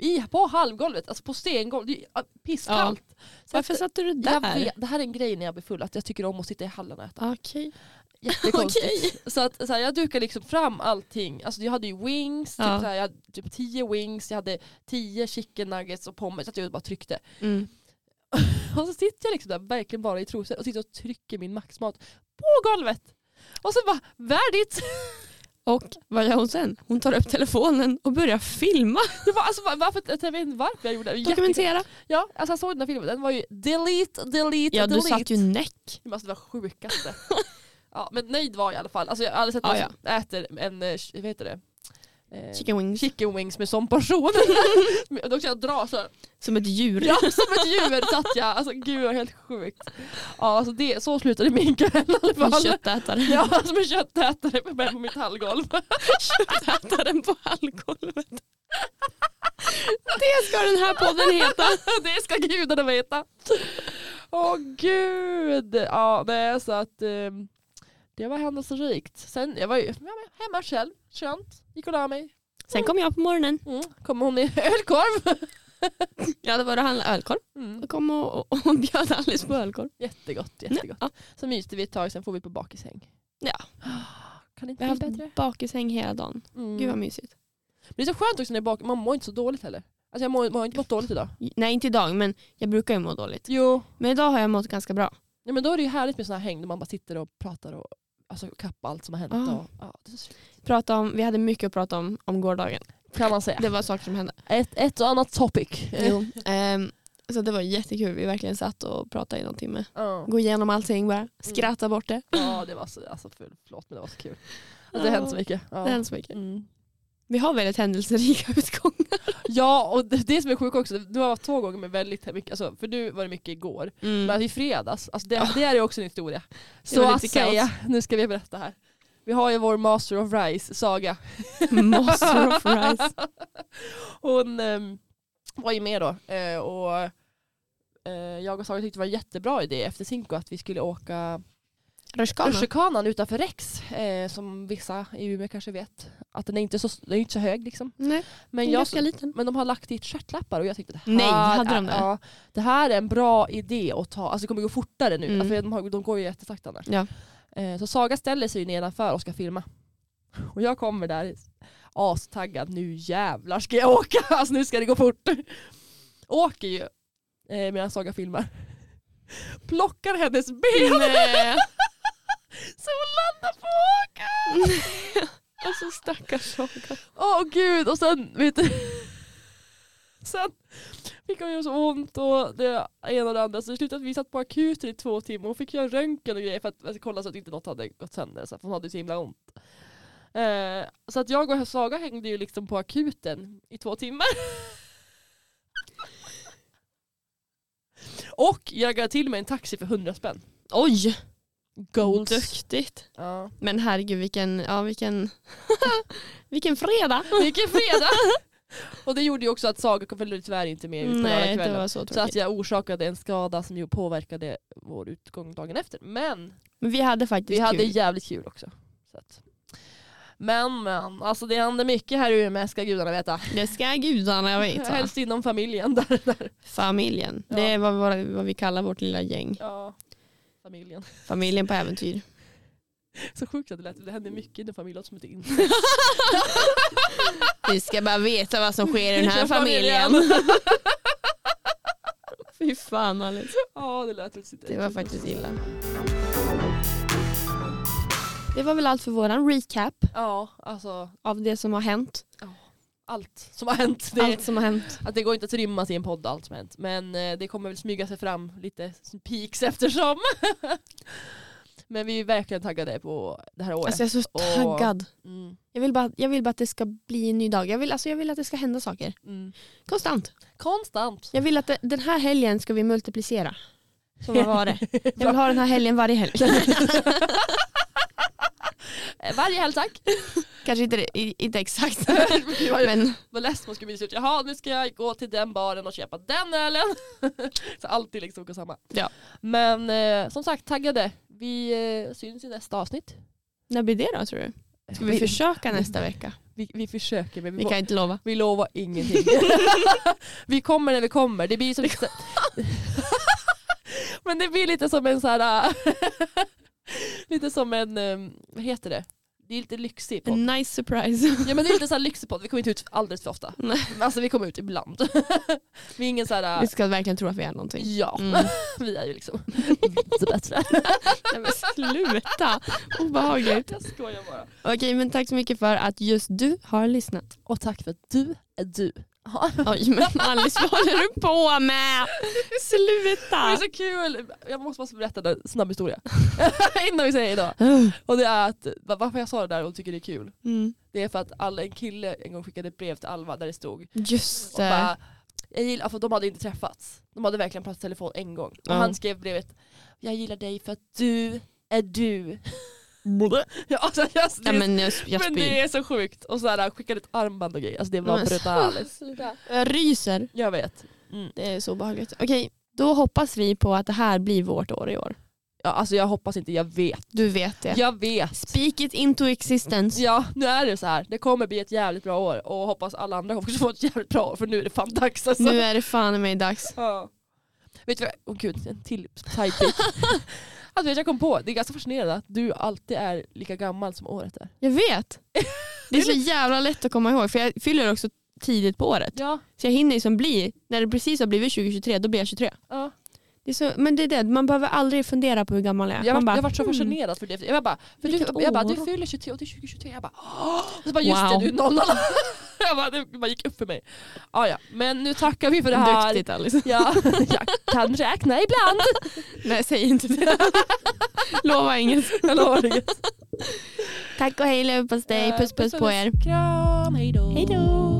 [SPEAKER 1] I, på halvgolvet, alltså på stengolvet, det är ju, ah, pisskallt. Så
[SPEAKER 2] Varför
[SPEAKER 1] att,
[SPEAKER 2] satte du
[SPEAKER 1] jag
[SPEAKER 2] där? Ah,
[SPEAKER 1] vet, det här är en grej när jag blir full, att jag tycker om att sitta i hallen och äta.
[SPEAKER 2] Okej.
[SPEAKER 1] Jättekonstigt.
[SPEAKER 2] Okej.
[SPEAKER 1] Så att så här, jag dukade liksom fram allting. Alltså jag hade ju wings, typ,
[SPEAKER 2] Ja.
[SPEAKER 1] så här, jag hade typ tio wings, jag hade tio chicken nuggets och pommes. Så att jag bara tryckte.
[SPEAKER 2] Mm.
[SPEAKER 1] Och så sitter jag liksom där verkligen bara i trosor och sitter och trycker min maxmat på golvet. Och så bara värdigt.
[SPEAKER 2] Och vad gör hon sen? Hon tar upp telefonen och börjar filma,
[SPEAKER 1] Det var, alltså, varför, jag vet inte varför jag gjorde det. Jättekonstigt.
[SPEAKER 2] dokumentera.
[SPEAKER 1] Ja, alltså jag såg den här filmen, den var ju delete, delete,
[SPEAKER 2] Ja du
[SPEAKER 1] delete.
[SPEAKER 2] satt ju näck.
[SPEAKER 1] Men Alltså det var sjukaste. ja, men nöjd var jag i alla fall. Alltså, jag har aldrig sett någon
[SPEAKER 2] Ja,
[SPEAKER 1] som äter en, eh, vad heter det? Eh,
[SPEAKER 2] Chicken wings.
[SPEAKER 1] chicken wings med sån portion. Då kan jag dra så här.
[SPEAKER 2] Som ett djur.
[SPEAKER 1] Ja, som ett djur satt jag. Alltså gud vad helt sjukt. Ja, alltså det, så slutade min kväll i alla
[SPEAKER 2] En
[SPEAKER 1] fall.
[SPEAKER 2] köttätare.
[SPEAKER 1] Ja, som en köttätare på- på mitt hallgolv.
[SPEAKER 2] Köttätaren på hallgolvet. Det ska den här podden heta.
[SPEAKER 1] Det ska gudarna veta. Åh gud. Ja, nej, så att eh, det var händelserikt. Sen jag var ju jag var hemma själv, skönt. Gick och la mig.
[SPEAKER 2] Sen kom jag på morgonen.
[SPEAKER 1] Mm. Kom hon i ölkorv.
[SPEAKER 2] Jag hade varit och handlat ölkorv.
[SPEAKER 1] Mm.
[SPEAKER 2] Jag kom och, och, och bjöd Alice på ölkorv.
[SPEAKER 1] Jättegott, jättegott.
[SPEAKER 2] Ja.
[SPEAKER 1] Så myste vi ett tag, sen får vi på bakishäng.
[SPEAKER 2] Ja.
[SPEAKER 1] Kan det
[SPEAKER 2] Jag
[SPEAKER 1] inte
[SPEAKER 2] har
[SPEAKER 1] bli bättre?
[SPEAKER 2] haft bakishäng hela dagen.
[SPEAKER 1] Mm.
[SPEAKER 2] Gud vad mysigt.
[SPEAKER 1] Men det är så skönt också när jag är bak, man mår inte så dåligt heller. Alltså jag mår, mår inte mått dåligt idag.
[SPEAKER 2] Nej inte idag men jag brukar ju må dåligt.
[SPEAKER 1] Jo.
[SPEAKER 2] Men idag har jag mått ganska bra.
[SPEAKER 1] Ja, men då är det ju härligt med sådana här häng där man bara sitter och pratar och alltså, kappa allt som har hänt.
[SPEAKER 2] Ja.
[SPEAKER 1] Och, ja, det är så-
[SPEAKER 2] Prata om, vi hade mycket att prata om om gårdagen.
[SPEAKER 1] kan man säga.
[SPEAKER 2] Det var saker som hände.
[SPEAKER 1] Ett, ett och annat topic.
[SPEAKER 2] Jo. ehm, så det var jättekul. Vi verkligen satt och pratade i någon timme.
[SPEAKER 1] Ja.
[SPEAKER 2] Gå igenom allting bara. Skratta bort det.
[SPEAKER 1] Ja det var så, alltså för, förlåt men det var så kul. Att det har hänt så mycket. Ja.
[SPEAKER 2] Det hände så mycket.
[SPEAKER 1] Mm.
[SPEAKER 2] Vi har väldigt händelserika utgångar.
[SPEAKER 1] Ja och det, det som är sjukt också, du har varit två gånger med väldigt mycket, alltså, för du var det mycket igår.
[SPEAKER 2] Mm.
[SPEAKER 1] Men i fredags, alltså det, det här är också en historia. Så
[SPEAKER 2] var
[SPEAKER 1] att
[SPEAKER 2] lite kaos.
[SPEAKER 1] säga, nu ska vi berätta här. Vi har ju vår Master of Rice, Saga.
[SPEAKER 2] Master of rice.
[SPEAKER 1] Hon ehm, var ju med då eh, och eh, jag och Saga tyckte det var en jättebra idé efter Cinco att vi skulle åka
[SPEAKER 2] Rutschkana.
[SPEAKER 1] rutschkanan utanför Rex eh, som vissa i Umeå kanske vet. Att den är inte så, den är inte så hög liksom.
[SPEAKER 2] Nej,
[SPEAKER 1] Men
[SPEAKER 2] den är
[SPEAKER 1] jag,
[SPEAKER 2] ganska liten.
[SPEAKER 1] Men de har lagt dit stjärtlappar och jag tyckte det här,
[SPEAKER 2] Nej, hade de det?
[SPEAKER 1] Ja, det här är en bra idé att ta, alltså det kommer gå fortare nu,
[SPEAKER 2] Mm.
[SPEAKER 1] för de, har, de går ju jättetakta annars.
[SPEAKER 2] Ja.
[SPEAKER 1] Eh, Så Saga ställer sig ju nedanför och ska filma. Och jag kommer där astaggad, nu jävlar ska jag åka, alltså nu ska det gå fort. Åker ju eh, medan Saga filmar. Plockar hennes ben
[SPEAKER 2] Nej.
[SPEAKER 1] så hon landar på åkern!
[SPEAKER 2] Alltså stackars Saga.
[SPEAKER 1] Åh gud och sen vet du, Sen fick hon ju så ont och det ena och det andra så det slutade att vi satt på akuten i två timmar. Hon fick göra röntgen och grejer för att alltså, kolla så att inte något hade gått sönder. Så att hon hade ju så himla ont. Eh, så att jag och Saga hängde ju liksom på akuten i två timmar. och jag gav till mig en taxi för 100 spänn.
[SPEAKER 2] Oj,
[SPEAKER 1] Goals.
[SPEAKER 2] duktigt.
[SPEAKER 1] Ja.
[SPEAKER 2] Men herregud vilken, ja, vilken, vilken fredag.
[SPEAKER 1] Vilken fredag! och det gjorde ju också att Saga följde tyvärr inte med ut på hela
[SPEAKER 2] Nej, det
[SPEAKER 1] kvällen.
[SPEAKER 2] var så
[SPEAKER 1] Så att
[SPEAKER 2] tråkigt.
[SPEAKER 1] jag orsakade en skada som ju påverkade vår utgång dagen efter. Men
[SPEAKER 2] Men vi hade faktiskt
[SPEAKER 1] vi hade
[SPEAKER 2] kul.
[SPEAKER 1] jävligt kul också. Så att. Men men, alltså det händer mycket här i Umeå ska gudarna veta.
[SPEAKER 2] Det ska gudarna veta.
[SPEAKER 1] Helst inom familjen. Där, där.
[SPEAKER 2] Familjen.
[SPEAKER 1] Ja.
[SPEAKER 2] Det är vad, vad, vad vi kallar vårt lilla gäng.
[SPEAKER 1] Ja, familjen.
[SPEAKER 2] Familjen på äventyr.
[SPEAKER 1] Så sjukt att det lät. Det händer mycket inom familjen. låter som inte in.
[SPEAKER 2] Vi ska bara veta vad som sker i den här
[SPEAKER 1] Vilken familjen.
[SPEAKER 2] familjen. Fy fan Alice.
[SPEAKER 1] Ja, det lät lite
[SPEAKER 2] Det var faktiskt illa. Det var väl allt för våran recap
[SPEAKER 1] Ja, alltså
[SPEAKER 2] av det som har hänt.
[SPEAKER 1] allt som har hänt. Det,
[SPEAKER 2] Allt som har hänt.
[SPEAKER 1] Att det går inte att rymmas i en podd allt som har hänt. Men eh, det kommer väl smyga sig fram lite peaks eftersom. Men vi är verkligen taggade på det här året.
[SPEAKER 2] Alltså jag är så
[SPEAKER 1] Och-
[SPEAKER 2] taggad.
[SPEAKER 1] mm,
[SPEAKER 2] Jag vill, bara, jag vill bara att det ska bli en ny dag. Jag vill, alltså jag vill att det ska hända saker.
[SPEAKER 1] mm.
[SPEAKER 2] Konstant.
[SPEAKER 1] Konstant.
[SPEAKER 2] Jag vill att det, den här helgen ska vi multiplicera. Som vad var det? Jag vill ha den här helgen varje helg.
[SPEAKER 1] Eh, Varje helg tack.
[SPEAKER 2] Kanske inte, det- i- inte exakt.
[SPEAKER 1] Jag var ju-
[SPEAKER 2] Men
[SPEAKER 1] var ledsen man skulle bli ut. Jaha nu ska jag gå till den baren och köpa den ölen. Så alltid liksom går samma.
[SPEAKER 2] Ja.
[SPEAKER 1] Men eh, som sagt taggade. Vi eh, syns i nästa avsnitt.
[SPEAKER 2] när blir det då tror du? Ska vi försöka nästa vecka?
[SPEAKER 1] vi, vi försöker men vi,
[SPEAKER 2] Vi
[SPEAKER 1] må-
[SPEAKER 2] kan inte lova.
[SPEAKER 1] Vi lovar ingenting. vi kommer när vi kommer. Det blir som... Men det blir lite som en så här... äh, lite som en... eh, Vad heter det? Det är lite lyxig podd.
[SPEAKER 2] En nice surprise.
[SPEAKER 1] Ja men det är lite så här lyxig podd. Vi kommer inte ut alldeles för ofta.
[SPEAKER 2] Nej.
[SPEAKER 1] Men Alltså vi kommer ut ibland. vi är ingen så här...
[SPEAKER 2] Vi
[SPEAKER 1] eh,
[SPEAKER 2] ska verkligen tro att vi är någonting.
[SPEAKER 1] Ja,
[SPEAKER 2] Mm.
[SPEAKER 1] vi är ju liksom lite bättre.
[SPEAKER 2] Nej, men sluta, obehagligt.
[SPEAKER 1] Jag skojar bara.
[SPEAKER 2] Okej men tack så mycket för att just du har lyssnat.
[SPEAKER 1] Och tack för att du är du.
[SPEAKER 2] Oj men Alice vad håller du på med?
[SPEAKER 1] Det är
[SPEAKER 2] Sluta.
[SPEAKER 1] så kul! Jag måste bara berätta en snabb historia. Innan vi säger idag.
[SPEAKER 2] Ah.
[SPEAKER 1] Och det är att, va- varför jag sa det där och tycker det är kul,
[SPEAKER 2] Mm.
[SPEAKER 1] det är för att alla, en kille en gång skickade ett brev till Alva där det stod
[SPEAKER 2] Just
[SPEAKER 1] och
[SPEAKER 2] det.
[SPEAKER 1] bara, jag gillar, för de hade inte träffats. De hade verkligen pratat i telefon en gång. Och
[SPEAKER 2] Ja.
[SPEAKER 1] han skrev brevet, jag gillar dig för att du är du. Ja, alltså, jag,
[SPEAKER 2] Ja,
[SPEAKER 1] det,
[SPEAKER 2] men jag, jag
[SPEAKER 1] men det
[SPEAKER 2] spyr.
[SPEAKER 1] är så sjukt. Och så här, han skickade ett armband och grejer. Alltså det var
[SPEAKER 2] Men-
[SPEAKER 1] brutalt.
[SPEAKER 2] Jag ryser.
[SPEAKER 1] Jag vet. Mm.
[SPEAKER 2] Det är så obehagligt. Okej, då hoppas vi på att det här blir vårt år i år.
[SPEAKER 1] Ja, alltså jag hoppas inte, jag vet.
[SPEAKER 2] Du vet det.
[SPEAKER 1] Jag vet.
[SPEAKER 2] Speak it into existence.
[SPEAKER 1] Ja, nu är det så här. Det kommer bli ett jävligt bra år och hoppas alla andra också får ett jävligt bra år för nu är det fan dags alltså.
[SPEAKER 2] Nu är det fan i mig dags.
[SPEAKER 1] Ja. Vet du vad, åh gud, en till sidekick. alltså vet du, jag kom på, det är ganska fascinerande att du alltid är lika gammal som året är.
[SPEAKER 2] Jag vet. Det är så jävla lätt att komma ihåg för jag fyller också tidigt på året.
[SPEAKER 1] Ja,
[SPEAKER 2] Så jag hinner liksom bli, när det precis har blivit 2023 då blir jag 23.
[SPEAKER 1] ja.
[SPEAKER 2] Det är så, men det är det, man behöver aldrig fundera på hur gammal jag är.
[SPEAKER 1] Jag
[SPEAKER 2] man
[SPEAKER 1] var,
[SPEAKER 2] bara,
[SPEAKER 1] jag var så
[SPEAKER 2] "Hmm,
[SPEAKER 1] fascinerad för det. Jag bara, för du,
[SPEAKER 2] Vilket
[SPEAKER 1] jag bara du
[SPEAKER 2] år."
[SPEAKER 1] fyller 23 och det är 2023. Jag bara, åh! Och så bara just
[SPEAKER 2] Wow.
[SPEAKER 1] det, du är nollan. Jag bara, det bara gick upp för mig. Ah, ja. Men nu tackar vi för det här.
[SPEAKER 2] Duktigt Alice.
[SPEAKER 1] Ja, jag kan räkna ibland.
[SPEAKER 2] Nej säg inte det. Lova inget.
[SPEAKER 1] Jag lovar inget.
[SPEAKER 2] Tack och hej leverpastej. Uh, Puss puss på er.
[SPEAKER 1] Kram, hej då.
[SPEAKER 2] Hej då.